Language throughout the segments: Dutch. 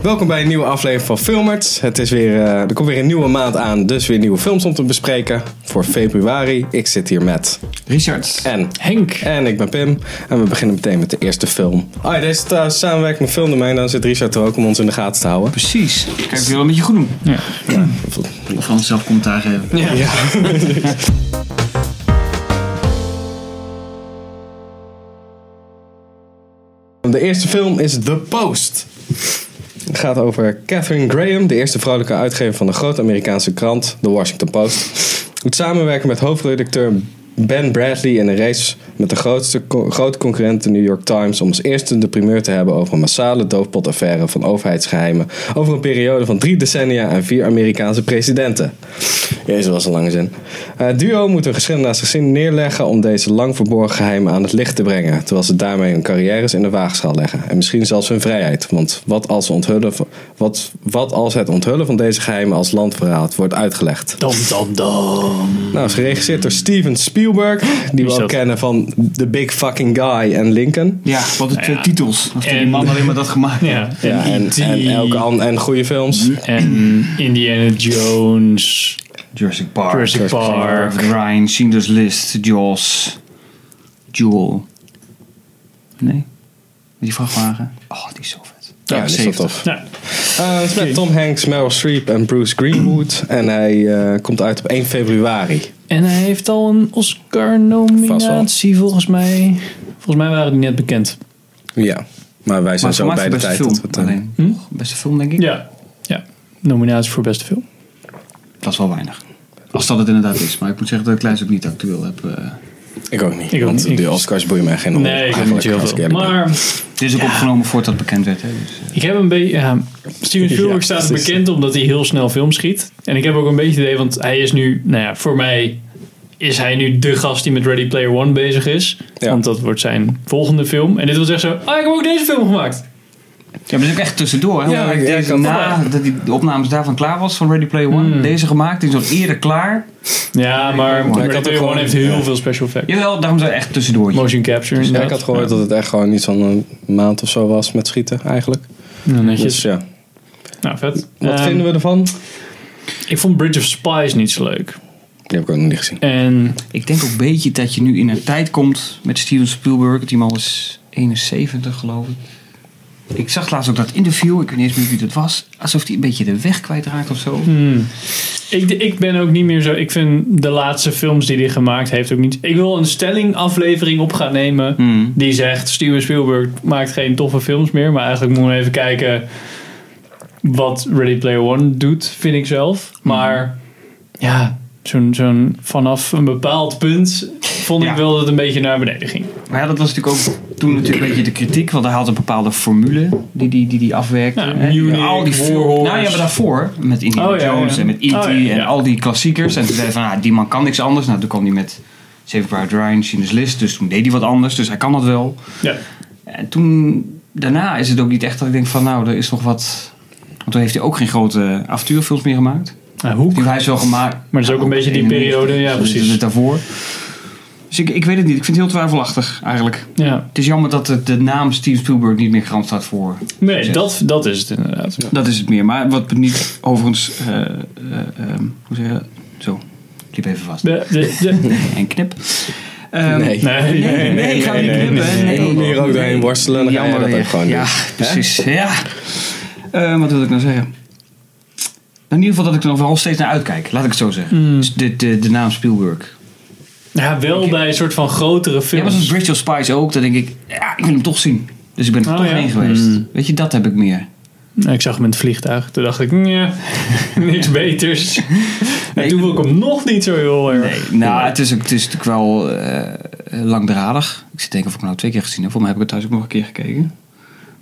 Welkom bij een nieuwe aflevering van Filmerts. Het is weer, eh, er komt weer een nieuwe maand aan, dus weer nieuwe films om te bespreken voor februari. Ik zit hier met Richard. en Henk. en ik ben Pim en we beginnen meteen met de eerste film. Oh ja, deze is trouwens samenwerking met Filmdomein, dan zit Richard er ook om ons in de gaten te houden. Precies. Kijk, wil je wel met je goed doen? Of anders zelf commentaar geven. Ja. De eerste film is The Post. Het gaat over Catherine Graham, de eerste vrouwelijke uitgever van de grote Amerikaanse krant, The Washington Post. Moet samenwerken met hoofdredacteur Ben Bradley in een race met de grootste, co- grote concurrent, de New York Times, om als eerste de primeur te hebben over een massale doofpotaffaire van overheidsgeheimen over een periode van drie decennia en Eh, vier Amerikaanse presidenten. Jezus, was een lange zin. Het duo moet hun geschillen naast zich neerleggen om deze lang verborgen geheimen aan het licht te brengen, terwijl ze daarmee hun carrières in de waagschaal leggen en misschien zelfs hun vrijheid. Want wat als, ze onthullen van- wat, wat als het onthullen van deze geheimen als landverraad wordt uitgelegd? Dam, dam, dam. Nou, is geregisseerd door Steven Spielberg, die we is ook dat? kennen van The Big Fucking Guy en Lincoln. Ja, wat de twee titels. Als die Nou En- man alleen maar dat gemaakt Ja, E en, Ja, en, E.T. en, elke an- en goede films. en Indiana Jones. Jurassic Park. Jurassic Park. Ryan, Schindler's List, Jaws. Jewel. Nee? Die vrachtwagen. Oh, die is zo vet. Ja, dat is wel 70. tof. Nou, Eh, het is met Tom Hanks, Meryl Streep en Bruce Greenwood. En hij eh, komt uit op 1 februari. en hij heeft al een Vast Oscar-nominatie volgens mij. Volgens mij waren die net bekend. Ja, maar wij zijn Maar zo bij gemaakt voor de beste tijd. film. dat we het, eh, alleen. Beste film, denk ik. Hm? Ja. ja. Nominatie voor beste film. Dat is wel weinig. Als dat het inderdaad is. Maar ik moet zeggen dat ik Lijs ook niet actueel heb. eh. ik ook niet. Ik ook want niet. de Oscars boeien mij geen hol. Nee, ik heb eigenlijk, niet heel als ik veel. eerlijk ben. Maar Het is ook opgenomen voordat het bekend werd. Hè, dus, eh. ik heb een beetje... ja, Steven Spielberg Ja, staat dat is- bekend omdat hij heel snel film schiet. En ik heb ook een beetje het idee, want hij is nu... Nou ja, voor mij is hij nu de gast die met Ready Player One bezig is. Ja. Want dat wordt zijn volgende film. En dit was echt zo... Ah, ik heb ook deze film gemaakt. Ja, maar dat is ook echt tussendoor. Hè? Ja, Want ik- direct ik had- na dat die de opnames daarvan klaar was van Ready Player One, deze gemaakt, die is al eerder klaar. Ja, maar Maar ik Ready had ook Player One gewoon- heeft heel ja. veel special effects. Jawel, daarom zijn we echt tussendoor. Motion capture Ja, ik inderdaad. had gehoord dat het echt gewoon iets van een maand of zo was met schieten eigenlijk. Ja, netjes. Dus ja, nou, vet. wat vinden we ervan? Ik vond Bridge of Spies niet zo leuk. Die heb ik ook nog niet gezien. En Ik denk ook een beetje dat je nu in een tijd komt met Steven Spielberg. Die man is 71 geloof ik. Ik zag laatst ook dat interview, ik weet niet eens meer wie dat was. Alsof hij een beetje de weg kwijtraakt of zo. Hmm. ik, ik ben ook niet meer zo... Ik vind de laatste films die hij gemaakt heeft ook niet... Ik wil een stelling aflevering op gaan nemen... Hmm. die zegt Steven Spielberg maakt geen toffe films meer. Maar eigenlijk moeten we even kijken wat Ready Player One doet, vind ik zelf. Maar ja, zo'n, zo'n, vanaf een bepaald punt vond Ja. ik wel dat het een beetje naar beneden ging. Maar ja, dat was natuurlijk ook toen natuurlijk een beetje de kritiek. Want hij had een bepaalde formule die die, die, die afwerkte. Ja, hè. Munich, al die War film- Horse. Nou ja, maar daarvoor. Met Indiana Oh, ja, ja. Jones en met E.T. Oh, ja, ja. en al die klassiekers. En toen zei hij van, ah, die man kan niks anders. Nou, toen kwam hij met Saving Private Ryan, Schindler's List. Dus toen deed hij wat anders. Dus hij kan dat wel. Ja. En toen, daarna is het ook niet echt dat ik denk van, nou, er is nog wat... Want toen heeft hij ook geen grote avontuurfilms meer gemaakt. Nou, hoe Die heeft hij is wel gemaakt. Maar dat is ook een beetje die 91, periode, ja, dus precies. het daarvoor. Dus ik, ik weet het niet. Ik vind het heel twijfelachtig eigenlijk. Ja, Het is jammer dat de, de naam Steven Spielberg niet meer garant staat voor. nee, succes. dat, dat is het inderdaad. Dat is het meer. Maar wat me niet overigens. eh, eh, ehm, hoe zeg je dat? Zo, ik liep even vast. De, de, de- En knip. Ehm, Nee. nee, Nee, nee, gaan we niet nee, knippen. nee, nee. Nee, Je moet hier ook nee. doorheen worstelen, dan ga je Jammer dat ook weer. gewoon Ja, precies. Ja. Eh, wat wil ik nou zeggen? In ieder geval dat ik er nog wel steeds naar uitkijk. Laat ik het zo zeggen. Dus de, de, de naam Spielberg. Ja, wel bij een soort van grotere Ja, maar zoals films. Bridge of Spies ook. Dan denk ik, ja, ik wil hem toch zien. Dus ik ben er Oh, toch ja. heen geweest. Weet je, dat heb ik meer. Nou, ik zag hem in het vliegtuig. Toen dacht ik, nee, niks beters. En toen vond ik hem nog niet zo heel erg. Nee, nou, het is, ook- het is natuurlijk wel eh, langdradig. Ik zit te denken of ik hem nou twee keer gezien heb. Voor mij heb ik het thuis ook nog een keer gekeken.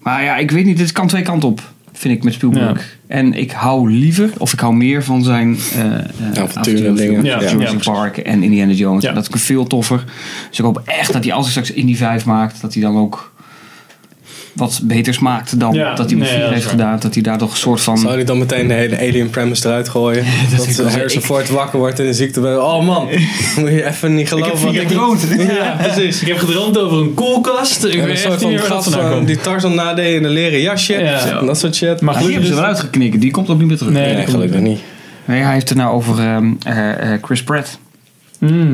Maar ja, ik weet niet. Dit kan twee kanten op, vind ik, met Spielberg. En ik hou liever, of ik hou meer van zijn... eh, eh, avonturenfilms. dingen. Ja, Jurassic ja, precies. Park en Indiana Jones. Ja. En Dat is veel toffer. Dus ik hoop echt dat hij als hij straks Indy 5 maakt, dat hij dan ook... wat beters maakt dan Ja, dat hij met nee, vier dat is heeft waar. gedaan. Dat hij daar toch een soort van... Zou hij dan meteen de hele Alien premise eruit gooien? dat ik wel dat zeggen. Harrison Ik- Ford wakker wordt in de ziekte. Oh man, moet je even niet ik heb geloven. vier wat keer ik- gedroomd. Ja, precies. Ik heb gedroomd over een koelkast. Ik En een weet soort echt niet van meer waar dat gast vandaan van komt. eh, die Tarzan nadeed in een leren jasje. Ja. En dat soort shit. Maar Maar die gelukkig hebben ze is- eruit geknikken. Die komt ook niet meer terug. Nee. nee, gelukkig niet. Nee, hij heeft het nou over ehm, eh, eh, Chris Pratt. Mm.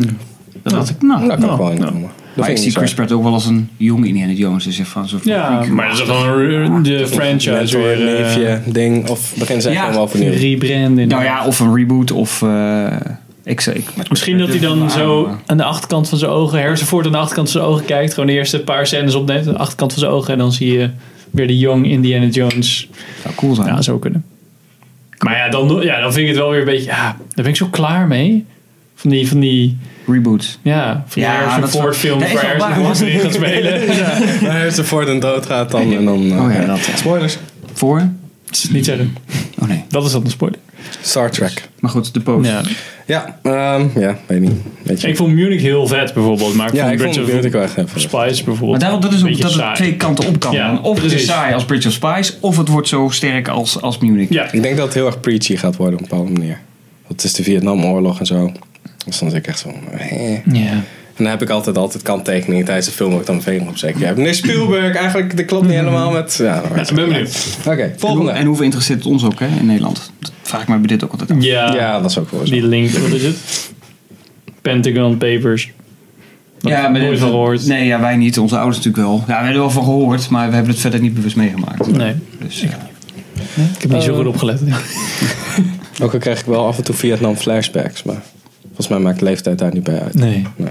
Dat dacht ik, nou... Dat kan ik nou. wel inkomen. Dat Maar vind ik zie ik Chris Pratt ook wel als een jong Indiana Jones. Dus van zo'n Ja, freak. maar dat is toch gewoon de franchise Mentor, weer. eh, neefje, ding. Of begin ze echt Ja. helemaal overnieuw. rebranding. Nou ja, of een reboot of... eh, ik, zeg- ik, met Misschien dat hij dan Maar, zo eh, aan de achterkant van zijn ogen, hersenvoort aan de achterkant van zijn ogen kijkt. Gewoon de eerste paar scènes opneemt aan de achterkant van zijn ogen. En dan zie je weer de jong Indiana Jones. zou cool zijn. Ja, zou kunnen. Maar ja dan, ja, dan vind ik het wel weer een beetje... Ja, daar ben ik zo klaar mee. Van die, van die, Reboot. ja, van die Ja, Harrison dat is wel- Ford films Nee, is waar wel Harrison waar. Ford erin gaat spelen. Maar Harrison Ford en dood gaat dan. En dan eh, Oh ja, dat. Spoilers. Voor? Niet zeggen. Oh nee. Dat is dat een spoiler. Star Trek. Maar goed, de post. Ja. Ja, ehm, ja, weet niet. Weet je. Ik vond Munich heel vet bijvoorbeeld. Maar ik ja, vond ik vond Bridge het of weer wel echt even. Spice bijvoorbeeld Maar daarom dat is een ook beetje dat het saai. twee kanten op kan Ja, gaan. Of het is precies. saai als Bridge of Spice, of het wordt zo sterk als, als Munich. Ja, Ik denk dat het heel erg preachy gaat worden op een bepaalde manier. Want het is de Vietnamoorlog en zo. Dus dan zit ik echt zo... eh. ja. En dan heb ik altijd altijd kanttekeningen tijdens de film waar ik dan veel op zeker. Ja, meneer Spielberg, eigenlijk, dat klopt niet helemaal met... Ja, Ja, ik ben benieuwd. Oké, En, hoe, volgende. en hoeveel interesseert het ons ook hè, in Nederland? Dat vraag ik mij bij dit ook altijd af. Ja, Ja, dat is ook wel zo. eh, die link, wat is het? Pentagon Papers. Ja, maar nooit van gehoord. Nee, ja, wij niet. Onze ouders natuurlijk wel. Ja, we hebben er wel van gehoord, maar we hebben het verder niet bewust meegemaakt. Nee, Dus, ja. ik heb niet Oh. zo goed opgelet. Ook al krijg ik wel af en toe Vietnam flashbacks, maar... Volgens mij maakt leeftijd daar niet bij uit. Nee. Nee.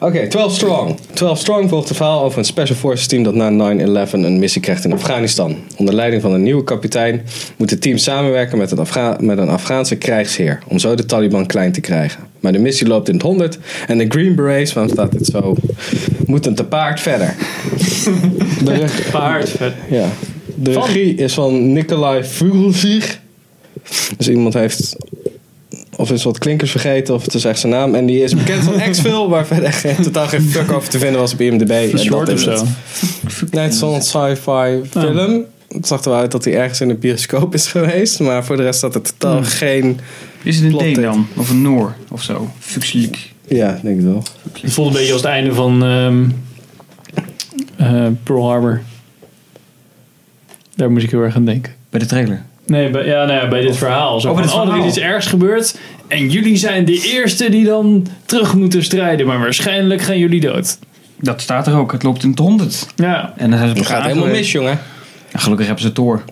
Oké, 12 Strong. 12 Strong volgt een verhaal over een special forces team dat na 9-11 een missie krijgt in Afghanistan. Onder leiding van een nieuwe kapitein moet het team samenwerken met, het Afgha- met een Afghaanse krijgsheer om zo de Taliban klein te krijgen. Maar de missie loopt in het honderd en de Green Berets, waarom staat dit zo, moeten te paard verder. de, reg- Paard. vet. ja. de Van? regie is van Nikolai Vugelsier. Dus iemand heeft of is wat klinkers vergeten, of het is echt zijn naam. En die is bekend van Exfil, waar verder geen- totaal geen fuck over te vinden was op IMDb. En Short dat of is zo. Oh. het. Nee, het is zo'n sci-fi film. Het zag er wel uit dat hij ergens in de bioscoop is geweest. Maar voor de rest had het totaal Hmm. geen... Is het Plot een D dit. dan? Of een Noor? Of zo? Fuxliek. Ja, ik denk ik wel. Het voelde een beetje als het einde van ehm, eh, Pearl Harbor. Daar moest ik heel erg aan denken. Bij de trailer. Nee, bij, ja, nou ja, bij dit verhaal. Zo Oh, bij van, dit oh, er is verhaal. iets ergs gebeurd. En jullie zijn de eerste die dan terug moeten strijden. Maar waarschijnlijk gaan jullie dood. Dat staat er ook. Het loopt in het honderd. Ja. En dan zijn ze Het elkaar gaat helemaal mis, aangewezen. jongen. Ja, gelukkig hebben ze het door.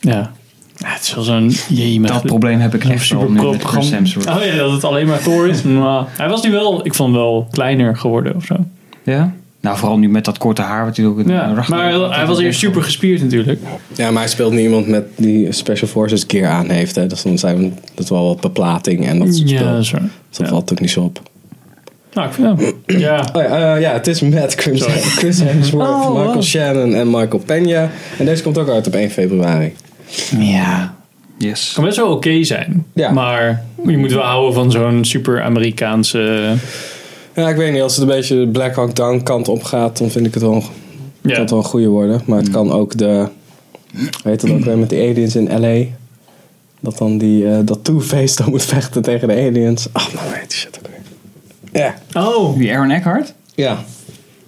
Ja. ja het is wel zo'n... Jee, maar- Dat probleem heb ik echt wel nu met Chris Hemsworth. Oh ja, dat het alleen maar Thor is. Maar hij was nu wel, ik vond hem wel kleiner geworden of zo. Ja? Nou, vooral nu met dat korte haar wat hij ook in Ja, Ragnarok maar had. hij, hij was eerst super gespierd natuurlijk. Ja, maar hij speelt nu iemand met die Special Forces gear aan heeft. Hè. Dus dan zijn dat wel wat beplating en dat soort spul. zo. Dus dat ja. valt ook niet zo op. Nou, ik vind ja. ja. Oh ja, eh, ja, het is met Chris, Sorry. Chris Hemsworth, Oh, wow. Michael Shannon en Michael Peña. En deze komt ook uit op 1 februari. Ja. Yes. kan best wel oké zijn. Ja. Maar je moet wel houden van zo'n super Amerikaanse... Ja, ik weet niet. Als het een beetje de Black Hawk Down kant op gaat, dan vind ik het wel, kan Ja. het wel een goede worden. Maar het kan ook de... Weet het ook weer met die aliens in L.A. Dat dan die, eh, dat Two-Face dan moet vechten tegen de aliens. Ach, man, weet die shit ook weer. Ja. Oh. Wie Aaron Eckhart? Ja.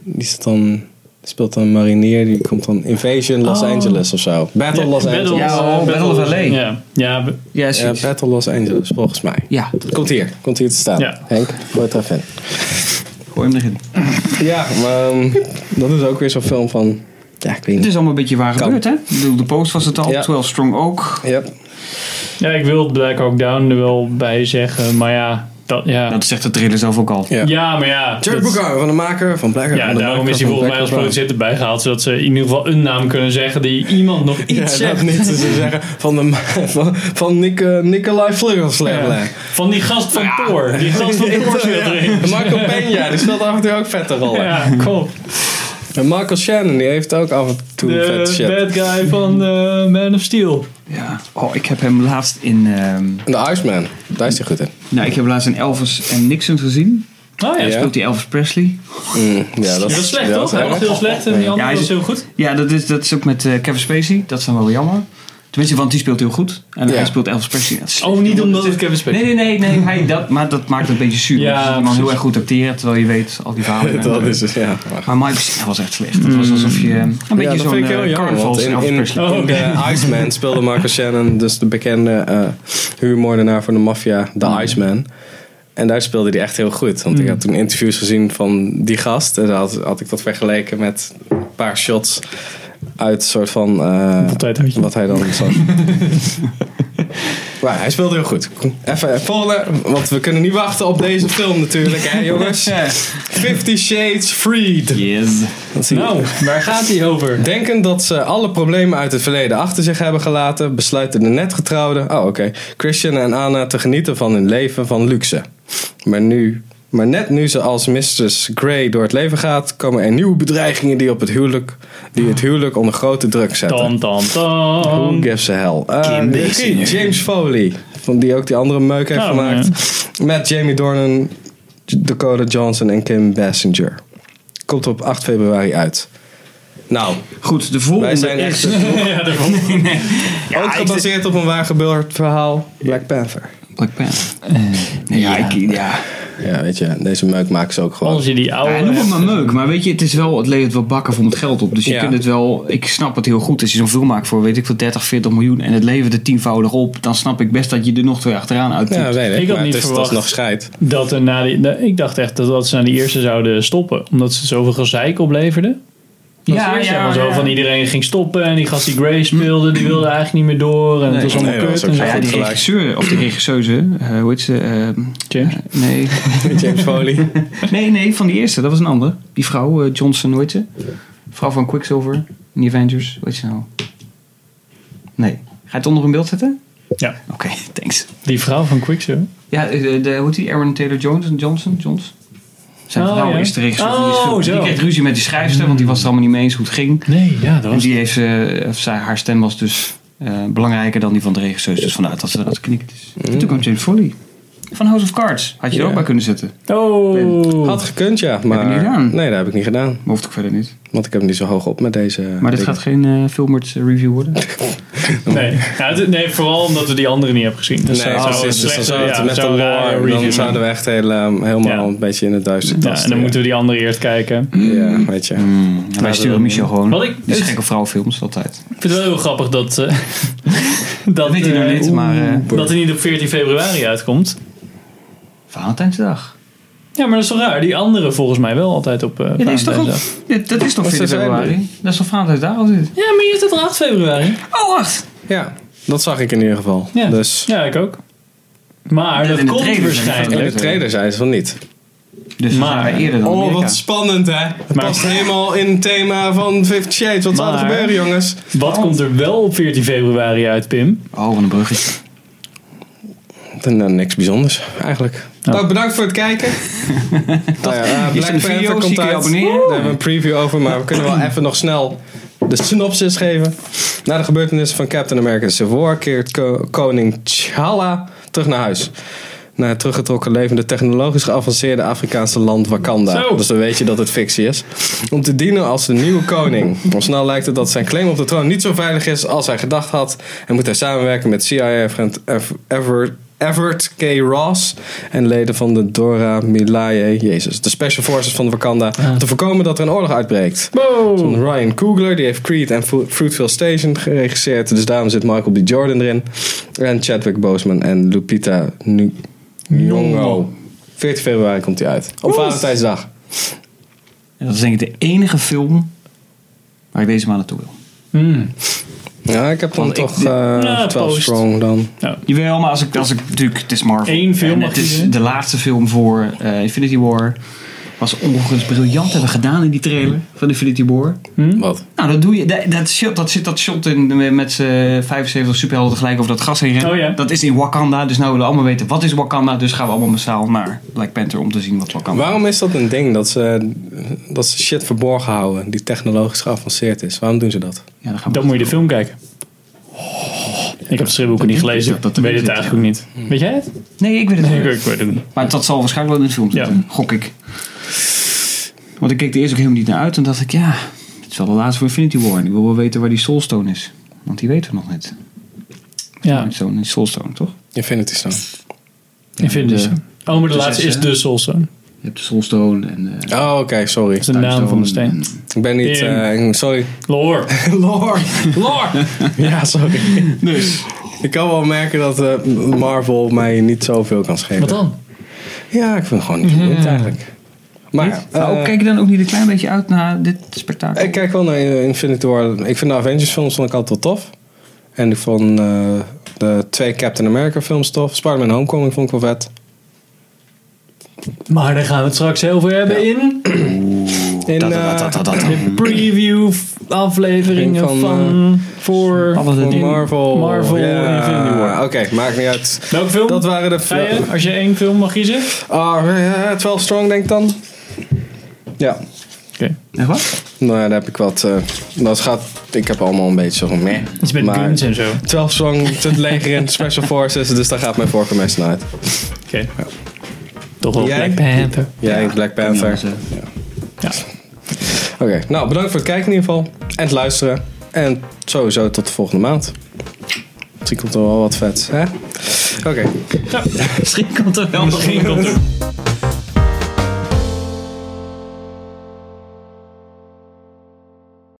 Die zit dan... die speelt dan een marinier. Die komt dan Invasion Los Oh. Angeles of zo. Battle Ja, Los Battle- Angeles. Ja, oh, eh, Battle of LA. Ja, ja, b- Ja, Ja, zoiets. Battle Los Angeles, volgens mij. Ja. Komt hier. Komt hier te staan. Ja. Henk, gooi het er even in. Gooi hem erin. Ja, maar ehm, dat is ook weer zo'n film van... Ja, ik weet Het niet. is allemaal een beetje waar Kan. gebeurd, hè? Ik bedoel, de post was het al. Ja. 12 Strong ook. Yep. ja, ik wil Black Hawk Down er wel bij zeggen. Maar ja, dat... Ja, Dat zegt de trailer zelf ook al. Ja. ja maar ja. Jerry dat- Bruckheimer van de maker van Black Ja, van de daarom maker is hij van volgens mij als Black producent erbij gehaald. Zodat ze in ieder geval een naam kunnen zeggen die iemand nog iets Ja, zegt. dat niet. Ze zeggen van, de, ma- van, van Nick, eh, Nikolai Vlugelslevel. Ja. Van die gast van Thor. Die gast van Thor zit erin. Marco Peña, die speelt af en toe ook vette rollen. Ja, klopt. En Michael Shannon, die heeft ook af en toe De vette shit. bad guy van eh, Man of Steel. Ja. Oh, ik heb hem laatst in... ehm, En de Iceman, daar is hij goed in. nou, ik heb laatst in Elvis en Nixon gezien. Oh ja. Daar Ja. speelt hij Elvis Presley. Mm, ja, Dat is slecht, ja, toch? dat is Hij was erg. heel slecht en die andere hij is- Oh, was heel goed. Ja, dat is, dat is ook met eh, Kevin Spacey. Dat is dan wel weer jammer. Tenminste, want die speelt heel goed. En Ja. hij speelt Elvis Presley. Dat is slecht, Oh, niet jongen. omdat Dat het Kevin Spacey Nee, nee, nee, nee hij, dat, maar dat maakt het een beetje zuur. Ja, Ja, dus iemand precies. heel erg goed acteren, terwijl je weet al die verhalen. en- Dat is het, ja. Maar- Maar Mike Pesina was echt slecht. Het was alsof je eh, een beetje dat zo'n vind ik heel jammer, eh, want carnavals in, Elvis in, Presley. Oh, in oké. de Iceman speelde Marcus Shannon, dus de bekende eh, huurmoordenaar van de maffia, de Mm. Iceman. En daar speelde hij echt heel goed. Want ik had toen interviews gezien van die gast. En daar had, had ik dat vergeleken met een paar shots uit een soort van... eh, Wat tijd had je? Wat hij dan zag. maar hij speelde heel goed. Even eh, volgende, want we kunnen niet wachten op deze film natuurlijk, hè jongens. Ja. Fifty Shades Freed. Yes. Dat zie je. Nou, waar gaat hij over? Denkend dat ze alle problemen uit het verleden achter zich hebben gelaten, besluiten de netgetrouwden, oh oké, Christian en Anna te genieten van hun leven van luxe. Maar, nu, maar net nu ze als Mrs. Grey door het leven gaat, komen er nieuwe bedreigingen die, op het, huwelijk, die het huwelijk onder grote druk zetten. Tan, tan, Who tan. gives a hell? Eh, Kim de Basinger. regie, James Foley, van die ook die andere meuk heeft Oh, gemaakt. Met Jamie Dornan, Dakota Johnson en Kim Basinger. Komt op 8 februari uit. Nou, Goed, de wij volgende zijn echt is... Ja, daarom. Ja, ook ik- gebaseerd op een waar gebeurd verhaal. Black Panther. Black Panther. Eh, nee, ja, ik... Ja. Ja, weet je, deze meuk maken ze ook gewoon. Als je die Ja, oude... noem het maar meuk, maar weet je, het is wel, het levert wel bakken om het geld op. Dus je Ja. kunt het wel, ik snap het heel goed. Als je zo'n film maakt voor, weet ik veel, 30, 40 miljoen en het levert er tienvoudig op, dan snap ik best dat je er nog twee achteraan uit. ja, doet. weet ik. Ik had maar niet het is verwacht. nog scheid. Dat er na die, nou, ik dacht echt dat, dat ze na die eerste zouden stoppen. Omdat ze zoveel gezeik opleverden. Dat Ja, ja, ja, ja, zo ja. Van iedereen ging stoppen. En die gast die Gray speelde, die wilde eigenlijk niet meer door. En het Nee, was allemaal nee, dat kut. was en ook zo. Nou ja, Goed die gelijk. regisseur, of de regisseuse, eh, hoe heet ze? ehm, James? nee. James Foley. nee, nee, van die eerste, dat was een ander. Die vrouw, eh, Johnson, hoe heet ze? Vrouw van Quicksilver, in The Avengers, hoe heet ze nou? Nee. Ga je het onder een beeld zetten? Ja. Oké, thanks. Die vrouw van Quicksilver. Ja, eh, de, de, hoe heet die? Aaron Taylor Johnson? Johnson? Johnson? Zijn Oh, vrouw ja. is de regisseur van die Oh, film. zo. Die kreeg ruzie met die schrijfster, want die was het allemaal niet mee eens hoe het ging. Nee, ja, dat En was... die heeft, eh, of zij, haar stem was dus eh, belangrijker dan die van de regisseur. Dus vandaar dat ze dat knikt. is. Mm. En toen kwam James Foley. Van House of Cards. Had je er Ja. ook bij kunnen zetten. Oh. Had gekund, ja. Maar, niet gedaan. Nee, dat heb ik niet gedaan. Maar hoeft ook verder niet. Want ik heb hem niet zo hoog op met deze. Maar dit gaat geen eh Filmert review worden. Nou, Nee. Ja, het- nee, vooral omdat we die andere niet hebben gezien. Dus nee, dat precies. zou een Dus dan slechte- zou het ja, met de zou een rare lore, review dan zouden we echt heel, ehm, helemaal Ja. een beetje in het duister zijn. Ja, en tasten. dan moeten we die andere eerst kijken. Ja, weet je. En wij sturen Michel gewoon. Wat ik- die is gek op vrouwenfilms altijd. Ik vind het wel heel grappig dat... eh, dat, weet hij eh, nog niet, maar eh, dat hij niet op 14 februari uitkomt. Valentijnsdag. Ja, maar dat is toch raar? Die andere volgens mij wel altijd op eh Ja, die is toch Valentijnsdag. op, dit- dat is toch Wat 4 zei februari? Dat is toch Valentijnsdag al dit? Ja, maar hier staat er 8 februari. Oh, wacht! Ja, dat zag ik in ieder geval. Ja, Dus. ja ik ook. Maar Net dat in de komt trailer zijn In waarschijnlijk. de trailer zei ze van niet. Dus Maar- maar eerder dan Oh, Amerika. wat spannend hè. Het Maar- past helemaal in het thema van Fifty Shades. Wat zal er Maar- gebeuren, jongens? Wat komt er wel op 14 februari uit, Pim? Oh, van een bruggetje. Dan, eh, niks bijzonders, eigenlijk. Oh. Nou, bedankt voor het kijken. Nou ja, eh, is een video, zie je je abonneren. Daar hebben we een preview over, maar we kunnen wel even nog snel de synopsis geven. Na de gebeurtenissen van Captain America Civil War keert ko- koning T'Challa terug naar huis. Naar het teruggetrokken levende technologisch geavanceerde Afrikaanse land Wakanda. Zo. Dus dan weet je dat het fictie is. Om te dienen als de nieuwe koning. Al snel lijkt het dat zijn claim op de troon niet zo veilig is als hij gedacht had. En moet hij samenwerken met CIA-agent Everett, Everett K. Ross. En leden van de Dora Milaje, Jezus, de Special Forces van Wakanda. Om te voorkomen dat er een oorlog uitbreekt. Wow. Van Ryan Coogler, die heeft Creed en Fru- Fruitvale Station geregisseerd. Dus daarom zit Michael B. Jordan erin. En Chadwick Boseman en Lupita Nu- Nyong'o. 14 februari komt hij uit. Op Valentijnsdag. En dat is denk ik de enige film waar ik deze maand naartoe wil. Hmm. Ja, ik heb dan Want ik- toch eh Nou, 12 post. Strong dan. Jawel, maar als ik, als ik natuurlijk, het is Marvel. Eén film En mag Het je is zien. de laatste film voor eh, Infinity War. Was overigens briljant hebben we gedaan in die trailer van Infinity War. Hm? Wat? Nou, dat doe je. Dat, dat shot, dat zit dat shot in, met z'n 75 superhelden tegelijk over dat gas heen rennen. Oh ja. Dat is in Wakanda, dus nou willen we allemaal weten wat is Wakanda. Dus gaan we allemaal massaal naar Black Panther om te zien wat Wakanda is. Waarom is dat een ding dat ze, dat ze shit verborgen houden die technologisch geavanceerd is? Waarom doen ze dat? Ja, dan gaan we Dan moet je de film kijken. Oh, Ik heb de stripboeken niet gelezen. Dat- dat ik weet erin het zit, eigenlijk ook niet. Weet jij het? Nee, ik weet het Nee, niet. ik, ik weet het niet. Maar dat zal waarschijnlijk wel in de film Ja. zitten, gok ik. Want ik keek er eerst ook helemaal niet naar uit. En dacht ik, ja, het is wel de laatste voor Infinity War. En ik wil wel weten waar die Soulstone is. Want die weten we nog niet. Ja, Soulstone is Soulstone, toch? Infinity Stone. Infinity de- Stone. Oh, maar de de laatste zes, is hè? de Soulstone. Je hebt de Soulstone en eh, de Oh, oké, sorry. Dat is de naam van de steen. Ik ben niet... eh, sorry. Lore. Lord. Lore. ja, sorry. Dus. Ik kan wel merken dat eh, Marvel mij niet zoveel kan schelen. Wat dan? Ja, ik vind het gewoon niet goed eigenlijk. Maar Maar ook, eh, Oh, kijk je dan ook niet een klein beetje uit naar dit spektakel? ik kijk wel naar eh, Infinity War. Ik vind de Avengers films vond ik altijd wel tof. En ik vond eh, de twee Captain America films tof. Spider-Man Homecoming vond ik wel vet. Maar daar gaan we het straks heel veel hebben in In, Dat- eh, dat- dat- dat- dat- de preview f- afleveringen Van, van, voor Alle van dingen. Marvel. Marvel Ja, Infinity War. Oké, maakt niet uit. Welke film? Dat waren de Ga je, films. als je één film mag kiezen? Ah, eh, 12 Strong denk ik dan. Ja. Oké. Echt wat? Nou ja, daar heb ik wat... eh, dat gaat... Ik heb allemaal een beetje zo meh. Iets met Maar- guns en zo. Oké. 12 Strong, het leger en Special Forces. Dus daar gaat mijn voorkeur meestal naar uit. Toch wel Jij? Black Panther. Jij, Black Panther. Ja, Ja. Oké, nou bedankt voor het kijken in ieder geval. En het luisteren. En sowieso tot de volgende maand. Misschien komt er wel wat vet. Hè? Oké. Misschien komt er wel nog Misschien komt er...